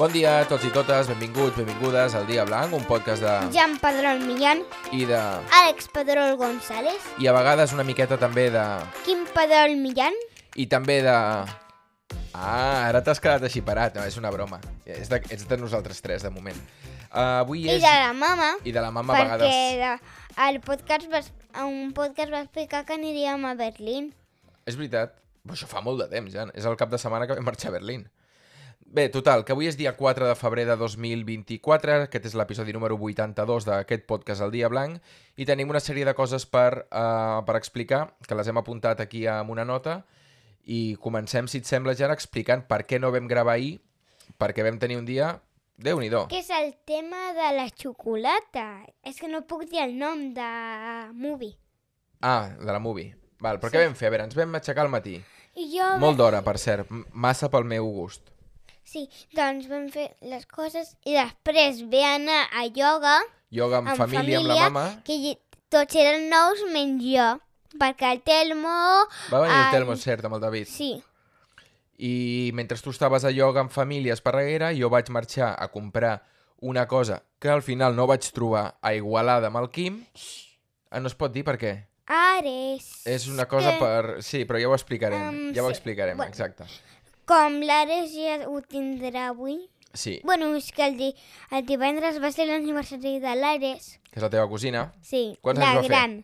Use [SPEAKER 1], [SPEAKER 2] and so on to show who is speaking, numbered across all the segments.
[SPEAKER 1] Bon dia a tots i totes, benvinguts, benvingudes al Dia Blanc, un podcast de...
[SPEAKER 2] Jan Padrón Millán,
[SPEAKER 1] i de...
[SPEAKER 2] Àlex Padrón González,
[SPEAKER 1] i a vegades una miqueta també de...
[SPEAKER 2] Quim Padrón Millán,
[SPEAKER 1] i també de... Ah, ara t'has quedat així parat, no, és una broma. Ets de, ets de nosaltres tres, de moment. Uh, avui
[SPEAKER 2] i
[SPEAKER 1] és...
[SPEAKER 2] de la mama,
[SPEAKER 1] I de la mama a
[SPEAKER 2] perquè
[SPEAKER 1] vegades...
[SPEAKER 2] de, el podcast va, es- a un podcast va explicar que aniríem a Berlín.
[SPEAKER 1] És veritat. Però això fa molt de temps, ja. És el cap de setmana que vam marxar a Berlín. Bé, total, que avui és dia 4 de febrer de 2024, aquest és l'episodi número 82 d'aquest podcast El Dia Blanc, i tenim una sèrie de coses per, uh, per explicar, que les hem apuntat aquí amb una nota, i comencem, si et sembla, ja explicant per què no vam gravar ahir, perquè vam tenir un dia... Déu-n'hi-do.
[SPEAKER 2] Que és el tema de la xocolata. És que no puc dir el nom de movie.
[SPEAKER 1] Ah, de la movie. Val, però sí. què vam fer? A veure, ens vam aixecar al matí.
[SPEAKER 2] I jo...
[SPEAKER 1] Molt d'hora, per cert. M- Massa pel meu gust.
[SPEAKER 2] Sí, doncs vam fer les coses i després ve anar a ioga
[SPEAKER 1] Yoga amb,
[SPEAKER 2] amb
[SPEAKER 1] família, amb la mama...
[SPEAKER 2] que hi- tots eren nous menys jo, perquè el Telmo...
[SPEAKER 1] Va venir el
[SPEAKER 2] el-
[SPEAKER 1] Telmo, és cert, amb el David.
[SPEAKER 2] Sí,
[SPEAKER 1] I mentre tu estaves a ioga amb família a Esparreguera, jo vaig marxar a comprar una cosa que al final no vaig trobar a Igualada amb el Quim. Ah, no es pot dir per què.
[SPEAKER 2] Ares.
[SPEAKER 1] És una cosa
[SPEAKER 2] que-
[SPEAKER 1] per... Sí, però ja ho explicarem.
[SPEAKER 2] Em,
[SPEAKER 1] ja ho
[SPEAKER 2] sí.
[SPEAKER 1] explicarem,
[SPEAKER 2] Bueno.
[SPEAKER 1] exacte.
[SPEAKER 2] Com l'Ares ja ho tindrà avui.
[SPEAKER 1] Sí,
[SPEAKER 2] Bueno, és que el, di el divendres va ser l'aniversari de l'Ares.
[SPEAKER 1] que és la teva cosina.
[SPEAKER 2] Sí,
[SPEAKER 1] Quants
[SPEAKER 2] la
[SPEAKER 1] anys va fer?
[SPEAKER 2] gran.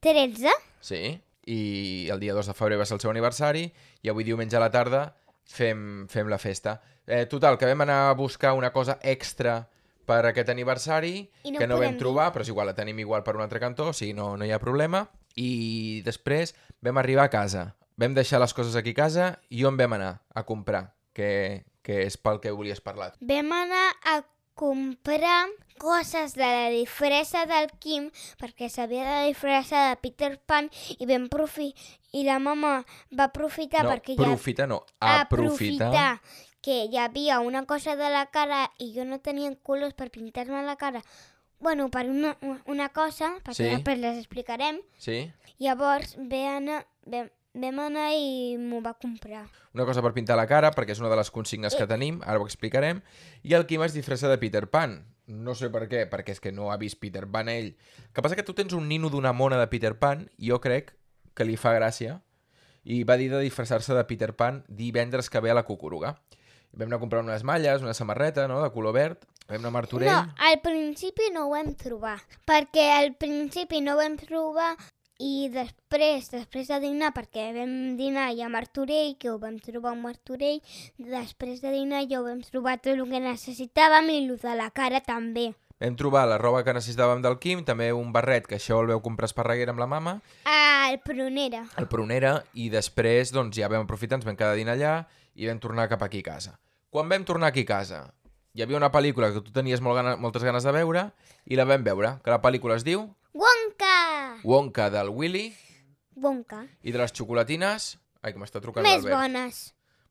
[SPEAKER 2] 13?
[SPEAKER 1] Sí. I el dia 2 de febrer va ser el seu aniversari i avui diumenge a la tarda fem, fem la festa. Eh, total, que vam anar a buscar una cosa extra per aquest aniversari
[SPEAKER 2] I no
[SPEAKER 1] que no
[SPEAKER 2] podem
[SPEAKER 1] vam
[SPEAKER 2] dir.
[SPEAKER 1] trobar, però és igual, la tenim igual per un altre cantó, o sigui, no, no hi ha problema. I després vam arribar a casa. Vam deixar les coses aquí a casa i on vam anar a comprar, que, que és pel que volies parlar.
[SPEAKER 2] Vam anar a comprar coses de la disfressa del Quim perquè s'havia de disfressar de Peter Pan i vam profi i la mama va aprofitar
[SPEAKER 1] no,
[SPEAKER 2] perquè ja
[SPEAKER 1] profita, no, aprofita.
[SPEAKER 2] aprofitar que hi havia una cosa de la cara i jo no tenia colors per pintar-me la cara. Bueno, per una, una cosa, perquè
[SPEAKER 1] Sí.
[SPEAKER 2] sí. després les explicarem.
[SPEAKER 1] Sí?
[SPEAKER 2] Llavors ve anar, vam, vam anar i m'ho va comprar.
[SPEAKER 1] Una cosa per pintar la cara, perquè és una de les consignes que tenim, ara ho explicarem. I el Quim es disfressa de Peter Pan. No sé per què, perquè és que no ha vist Peter Pan ell. El que passa que tu tens un nino d'una mona de Peter Pan, i jo crec que li fa gràcia, i va dir de disfressar-se de Peter Pan divendres que ve a la Cucuruga. Vam anar a comprar unes malles, una samarreta, no?, de color verd. Vam anar a Martorell.
[SPEAKER 2] No, al principi no ho vam trobar, perquè al principi no ho vam trobar i després, després de dinar, perquè vam dinar ja a Martorell, que ho vam trobar a Martorell, després de dinar ja ho vam trobar tot el que necessitàvem i el de la cara també.
[SPEAKER 1] Vam trobar la roba que necessitàvem del Quim, també un barret, que això el veu comprar a Esparreguera amb la mama,
[SPEAKER 2] Al Prunera.
[SPEAKER 1] al Prunera i després doncs, ja vam aprofitar, ens vam quedar a dinar allà i vam tornar cap aquí a casa. Quan vam tornar aquí a casa, hi havia una pel·lícula que tu tenies molt gana, moltes ganes de veure i la vam veure, que la pel·lícula es diu
[SPEAKER 2] Wonka!
[SPEAKER 1] Wonka del Willy
[SPEAKER 2] Wonka.
[SPEAKER 1] i de les xocolatines... Ai, que m'està trucant
[SPEAKER 2] Més
[SPEAKER 1] l'Albert.
[SPEAKER 2] bones.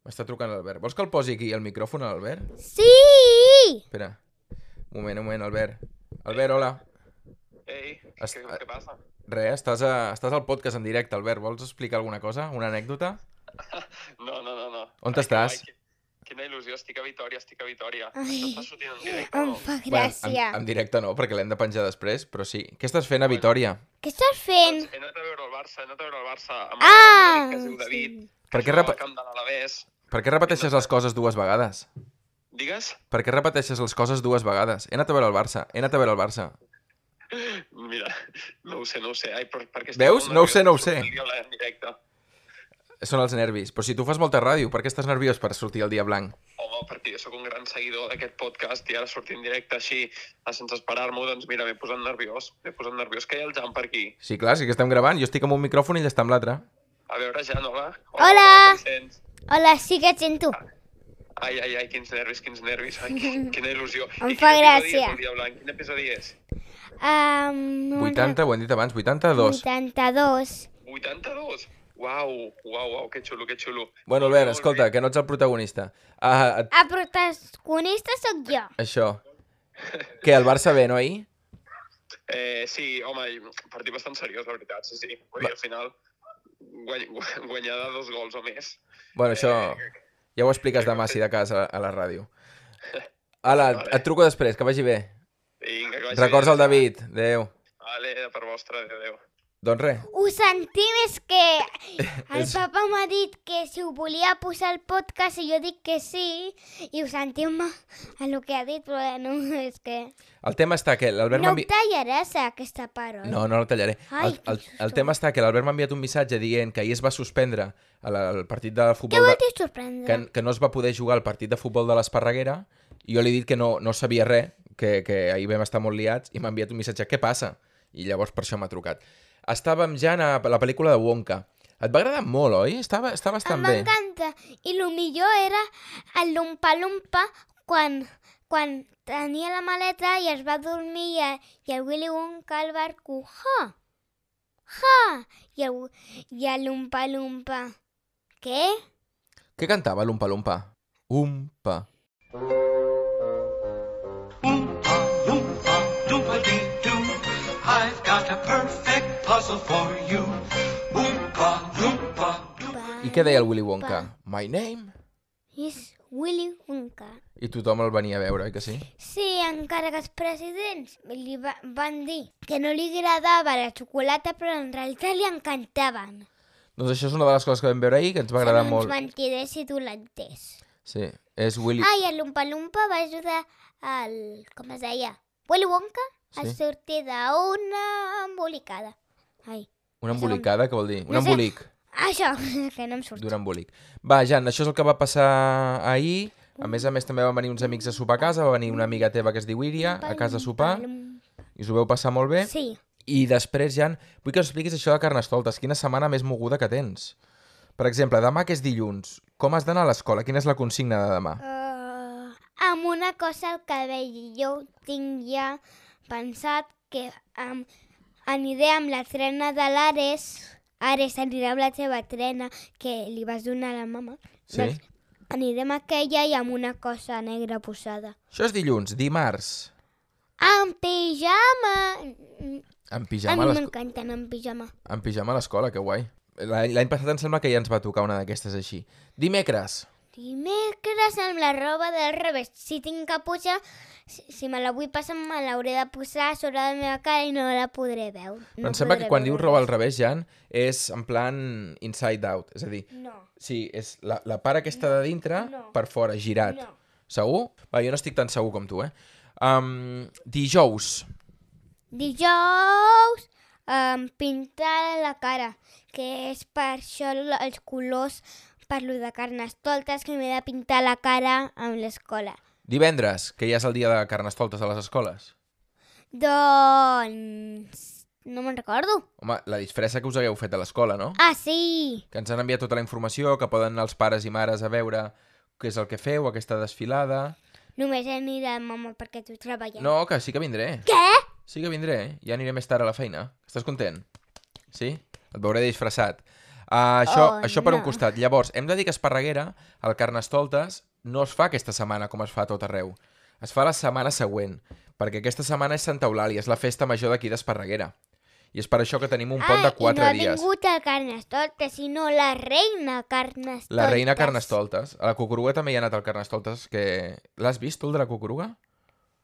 [SPEAKER 1] M'està trucant l'Albert. Vols que el posi aquí el micròfon, a l'Albert?
[SPEAKER 2] Sí!
[SPEAKER 1] Espera. Un moment, un moment, Albert. Albert, hola.
[SPEAKER 3] Ei,
[SPEAKER 1] Es-
[SPEAKER 3] què, què passa?
[SPEAKER 1] Res, estàs, a, estàs al podcast en directe, Albert. Vols explicar alguna cosa? Una anècdota?
[SPEAKER 3] No, no, no, no.
[SPEAKER 1] On
[SPEAKER 3] Ai, que
[SPEAKER 1] estàs?
[SPEAKER 3] guai, que- Quina il·lusió, estic a Vitoria, estic a Vitoria.
[SPEAKER 2] Ai.
[SPEAKER 3] Això està sortint en directe,
[SPEAKER 2] Em
[SPEAKER 3] no?
[SPEAKER 2] fa
[SPEAKER 1] Bueno,
[SPEAKER 2] gràcia.
[SPEAKER 1] en, en directe no, perquè l'hem de penjar després, però sí. Què estàs fent a Vitoria?
[SPEAKER 2] Què estàs fent?
[SPEAKER 3] Doncs He anat a veure el Barça, he anat a veure el Barça amb
[SPEAKER 2] Ah!
[SPEAKER 3] el que es diu David,
[SPEAKER 2] sí.
[SPEAKER 3] que
[SPEAKER 1] Per què
[SPEAKER 3] jugava
[SPEAKER 1] repa-
[SPEAKER 3] al camp de l'Alavés.
[SPEAKER 1] Per què repeteixes les coses dues vegades?
[SPEAKER 3] Digues?
[SPEAKER 1] Per què repeteixes les coses dues vegades? He anat a veure el Barça, he anat a veure el Barça.
[SPEAKER 3] Mira, no ho sé, no ho sé. Ai, per, perquè estic
[SPEAKER 1] Veus?
[SPEAKER 3] molt
[SPEAKER 1] No ho sé,
[SPEAKER 3] nerviós
[SPEAKER 1] no ho
[SPEAKER 3] per
[SPEAKER 1] sé.
[SPEAKER 3] sortir En directe.
[SPEAKER 1] Són els nervis. Però si tu fas molta ràdio, per què estàs nerviós per sortir el dia blanc?
[SPEAKER 3] Home, perquè jo sóc un gran seguidor d'aquest podcast i ara sortir en directe així, eh, sense esperar-m'ho, doncs mira, m'he posat nerviós. M'he posat nerviós que hi ha el Jan per aquí.
[SPEAKER 1] Sí, clar, sí que estem gravant. Jo estic amb un micròfon i ell està amb l'altre.
[SPEAKER 3] A veure, Jan, hola.
[SPEAKER 2] Hola!
[SPEAKER 3] com et sents?
[SPEAKER 2] Hola, sí que et sento.
[SPEAKER 3] Ai, ai, ai, quins nervis, quins nervis. Ai, qui- quina il·lusió.
[SPEAKER 2] Em
[SPEAKER 3] I
[SPEAKER 2] fa
[SPEAKER 3] quin episodi
[SPEAKER 2] gràcia.
[SPEAKER 3] és el Dia Blanc? Quin episodi és?
[SPEAKER 2] Um,
[SPEAKER 1] 80, ho hem dit abans, 82.
[SPEAKER 2] 82.
[SPEAKER 3] 82? Uau, uau, uau, que xulo, que xulo.
[SPEAKER 1] Bueno, Albert, escolta, que no ets el protagonista. Ah, et-
[SPEAKER 2] El protagonista sóc jo.
[SPEAKER 1] això. Què, el Barça ve, no, ahir?
[SPEAKER 3] Eh, sí, home, i partit bastant seriós, la veritat, sí, sí. Vull dir, al final, guany, gu- guanyar de dos gols o més.
[SPEAKER 1] Bueno, això... Ja ho expliques demà, si de cas, a, a la ràdio. Ala,
[SPEAKER 3] Vale.
[SPEAKER 1] et truco després, que vagi bé.
[SPEAKER 3] Vinga, que vagi
[SPEAKER 1] Records
[SPEAKER 3] bé.
[SPEAKER 1] al David. Adéu.
[SPEAKER 3] Vale, era per vostra, adéu.
[SPEAKER 1] Doncs res.
[SPEAKER 2] Ho sentim, és que el
[SPEAKER 1] És-
[SPEAKER 2] papa m'ha dit que si ho volia posar al podcast i jo dic que sí i ho sentim a el que ha dit, però no, és que...
[SPEAKER 1] El tema està que l'Albert
[SPEAKER 2] No
[SPEAKER 1] m'ha
[SPEAKER 2] ho
[SPEAKER 1] envi-
[SPEAKER 2] tallaràs, aquesta part, oi?
[SPEAKER 1] No, no la tallaré.
[SPEAKER 2] Ai,
[SPEAKER 1] el, el,
[SPEAKER 2] que
[SPEAKER 1] el
[SPEAKER 2] susto.
[SPEAKER 1] tema està que l'Albert m'ha enviat un missatge dient que ahir es va suspendre el, el partit de
[SPEAKER 2] Què
[SPEAKER 1] futbol...
[SPEAKER 2] vol
[SPEAKER 1] de-
[SPEAKER 2] dir sorprendre?
[SPEAKER 1] que, que no es va poder jugar el partit de futbol de l'Esparreguera i jo li he dit que no, no sabia res, que, que ahir vam estar molt liats i m'ha enviat un missatge, què passa? I llavors per això m'ha trucat. Estàvem ja a la pel·lícula de Wonka. Et va agradar molt, oi? Estava, està bastant bé.
[SPEAKER 2] M'encanta. I el millor era el lumpa-lumpa quan, quan tenia la maleta i es va dormir i, el- i el Willy Wonka el va arcujar. Ja! I el, i el lumpa-lumpa. Què?
[SPEAKER 1] Què cantava l'Umpa Lumpa? Umpa.
[SPEAKER 4] Oompa, loompa, doompa-dee-doo. I've got a perfect puzzle for you. Oompa, loompa, doompa.
[SPEAKER 1] I què deia el Willy Wonka? My name?
[SPEAKER 2] És Willy Wonka.
[SPEAKER 1] I tothom el venia a veure, oi que sí?
[SPEAKER 2] Sí, encara que els presidents li va, van dir que no li agradava la xocolata, però en realitat li encantaven.
[SPEAKER 1] Doncs això és una de les coses que vam veure ahir que ens va agradar
[SPEAKER 2] Són uns
[SPEAKER 1] molt.
[SPEAKER 2] mentiders i dolentes.
[SPEAKER 1] Sí, és Willy...
[SPEAKER 2] Ah, i el Lumpa Lumpa va ajudar al... com es deia? Willy Wonka a
[SPEAKER 1] Sí.
[SPEAKER 2] sortir d'una embolicada. Ai,
[SPEAKER 1] Una embolicada, què vol dir? Un
[SPEAKER 2] No sé.
[SPEAKER 1] embolic.
[SPEAKER 2] això, que no em surt.
[SPEAKER 1] d'un embolic. Va, Jan, això és el que va passar ahir. A més a més, també van venir uns amics a sopar a casa, va venir una amiga teva que es diu Iria, a casa a sopar, eh? i us ho veu passar molt bé.
[SPEAKER 2] Sí,
[SPEAKER 1] I després, Jan, vull que ens expliquis això de Carnestoltes, quina setmana més moguda que tens. Per exemple, demà que és dilluns, com has d'anar a l'escola? Quina és la consigna de demà?
[SPEAKER 2] uh, amb una cosa al cabell. Jo ho tinc ja pensat que um, aniré amb la trena de l'Ares. Ares anirà amb la seva trena que li vas donar a la mama. Doncs
[SPEAKER 1] Sí?
[SPEAKER 2] Anirem a aquella i amb una cosa negra posada.
[SPEAKER 1] Això és dilluns, dimarts.
[SPEAKER 2] En pijama! Mm,
[SPEAKER 1] En
[SPEAKER 2] A
[SPEAKER 1] pijama,
[SPEAKER 2] mi
[SPEAKER 1] a l'esco-
[SPEAKER 2] m'encanten en pijama.
[SPEAKER 1] en pijama a l'escola, que guai. L'any l'any passat em sembla que ja ens va tocar una d'aquestes així. Dimecres.
[SPEAKER 2] Dimecres amb la roba del revés. Si tinc caputxa, si, si me la vull passar, me l'hauré de posar a sobre la meva cara i no la podré veure. No
[SPEAKER 1] Però em sembla
[SPEAKER 2] podré
[SPEAKER 1] que quan
[SPEAKER 2] veure
[SPEAKER 1] dius roba al
[SPEAKER 2] res.
[SPEAKER 1] revés, Jan, és en plan inside out. És a dir,
[SPEAKER 2] No,
[SPEAKER 1] Sí, és la, la part aquesta de dintre
[SPEAKER 2] No.
[SPEAKER 1] per fora, girat.
[SPEAKER 2] no.
[SPEAKER 1] Segur? Va, jo no estic tan segur com tu, eh? Um, dijous.
[SPEAKER 2] Dijous um, pintar la cara, que és per això l- els colors, per lo de carnestoltes, que m'he de pintar la cara amb l'escola.
[SPEAKER 1] Divendres, que ja és el dia de carnestoltes a les escoles.
[SPEAKER 2] Doncs... no me'n recordo.
[SPEAKER 1] Home, la disfressa que us hagueu fet a l'escola, no?
[SPEAKER 2] Ah, sí!
[SPEAKER 1] Que ens han enviat tota la informació, que poden anar els pares i mares a veure què és el que feu, aquesta desfilada...
[SPEAKER 2] Només anirà mama perquè tu treballes.
[SPEAKER 1] No, que sí que vindré.
[SPEAKER 2] Què?
[SPEAKER 1] Sí que vindré, eh? ja aniré més tard a la feina. Estàs content? Sí? Et veuré disfressat. Uh, això,
[SPEAKER 2] Oh,
[SPEAKER 1] això per un
[SPEAKER 2] no.
[SPEAKER 1] costat. Llavors, hem de dir que Esparreguera, el Carnestoltes, no es fa aquesta setmana com es fa a tot arreu. Es fa la setmana següent, perquè aquesta setmana és Santa Eulàlia, és la festa major d'aquí d'Esparreguera. I és per això que tenim un pont de quatre
[SPEAKER 2] ah, i no
[SPEAKER 1] dies.
[SPEAKER 2] ha vingut el Carnestoltes, sinó la reina Carnestoltes.
[SPEAKER 1] La reina Carnestoltes. A la Cucuruga també hi ha anat el Carnestoltes, que... L'has vist, tu, el de la Cucuruga?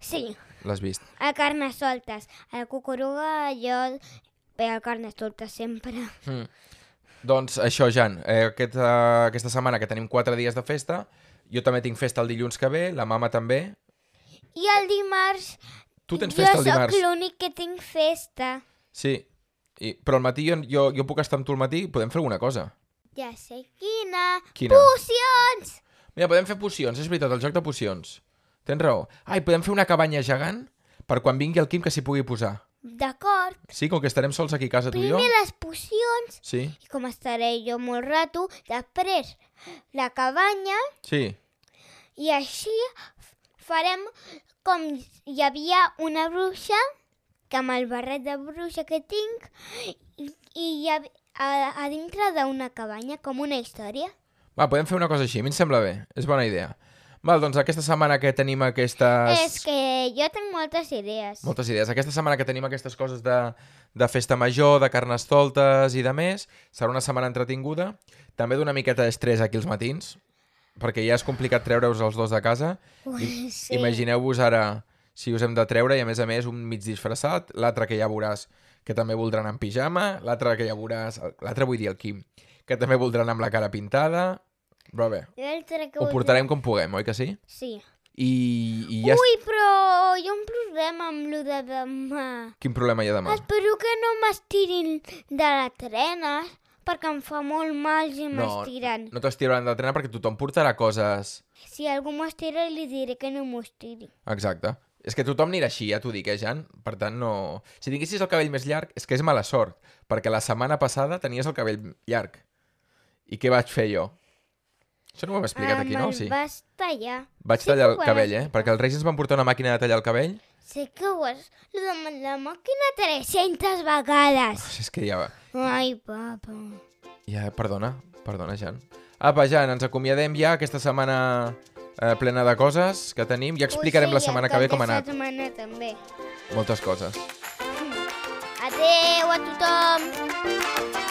[SPEAKER 2] Sí,
[SPEAKER 1] L'has vist.
[SPEAKER 2] el Carnestoltes. A la cucuruga jo... Bé, el Carnestoltes sempre.
[SPEAKER 1] Mm. Doncs això, Jan, eh, aquest, eh, aquesta setmana que tenim 4 dies de festa, jo també tinc festa el dilluns que ve, la mama també.
[SPEAKER 2] I el dimarts...
[SPEAKER 1] Tu tens festa
[SPEAKER 2] jo
[SPEAKER 1] el dimarts.
[SPEAKER 2] Jo sóc l'únic que tinc festa.
[SPEAKER 1] Sí, I, però al matí jo, jo, jo puc estar amb tu al matí i podem fer alguna cosa.
[SPEAKER 2] Ja sé quina.
[SPEAKER 1] Quina?
[SPEAKER 2] Pocions!
[SPEAKER 1] Mira, podem fer pocions, és veritat, el joc de pocions. Tens raó. Ai, podem fer una cabanya gegant per quan vingui el Quim que s'hi pugui posar.
[SPEAKER 2] D'acord.
[SPEAKER 1] Sí, com que estarem sols aquí a casa tu i jo.
[SPEAKER 2] Primer les pocions,
[SPEAKER 1] Sí,
[SPEAKER 2] i com estaré jo molt rato, després la cabanya,
[SPEAKER 1] sí.
[SPEAKER 2] I així farem com hi havia una bruixa, que amb el barret de bruixa que tinc, i, i hi ha, a, a dintre d'una cabanya, com una història.
[SPEAKER 1] Va, podem fer una cosa així, a mi em sembla bé, és bona idea. Val, doncs aquesta setmana que tenim aquestes...
[SPEAKER 2] És que jo tinc moltes idees.
[SPEAKER 1] Moltes idees. Aquesta setmana que tenim aquestes coses de, de festa major, de carnestoltes i de més, serà una setmana entretinguda. També d'una miqueta d'estrès aquí els matins. perquè ja és complicat treure-us els dos de casa.
[SPEAKER 2] Ui,
[SPEAKER 1] Sí. Imagineu-vos ara si us hem de treure i, a més a més, un mig disfressat, l'altre que ja veuràs que també voldrà anar en pijama, l'altre que ja veuràs... L'altre vull dir el Quim, que també voldrà anar amb la cara pintada... Però bé,
[SPEAKER 2] L'altre que
[SPEAKER 1] ho
[SPEAKER 2] vull-
[SPEAKER 1] portarem com puguem, oi que sí?
[SPEAKER 2] Sí.
[SPEAKER 1] I, i ja...
[SPEAKER 2] Ja Ui, però hi ha un problema amb lo de demà.
[SPEAKER 1] Quin problema hi ha demà?
[SPEAKER 2] Espero que no m'estirin de la trena, perquè em fa molt mal si m'estiren.
[SPEAKER 1] no t'estiraran de trena perquè tothom portarà coses...
[SPEAKER 2] Si algú m'estira, li diré que no m'estiri.
[SPEAKER 1] Exacte. És que tothom anirà així, ja t'ho dic, eh, Jan? Per tant, no... Si tinguessis el cabell més llarg, és que és mala sort, perquè la setmana passada tenies el cabell llarg. I què vaig fer jo? Això no ho hem explicat aquí, no?
[SPEAKER 2] el
[SPEAKER 1] Sí.
[SPEAKER 2] Ah, vas tallar.
[SPEAKER 1] Vaig
[SPEAKER 2] Sí
[SPEAKER 1] tallar
[SPEAKER 2] que
[SPEAKER 1] el
[SPEAKER 2] ho has
[SPEAKER 1] cabell, eh?
[SPEAKER 2] explicat.
[SPEAKER 1] Perquè els Reis ens van portar una màquina de tallar el cabell.
[SPEAKER 2] Sé que ho has... Lo de la màquina 300 vegades.
[SPEAKER 1] Uf, És que ja...
[SPEAKER 2] Ai, papa.
[SPEAKER 1] Ja, perdona, perdona, Jan. Apa, Jan, ens acomiadem ja aquesta setmana eh, plena de coses que tenim. Ja explicarem la setmana que ve com ha
[SPEAKER 2] anat.
[SPEAKER 1] anat.
[SPEAKER 2] Aquesta setmana també.
[SPEAKER 1] Moltes coses.
[SPEAKER 2] Adeu a tothom.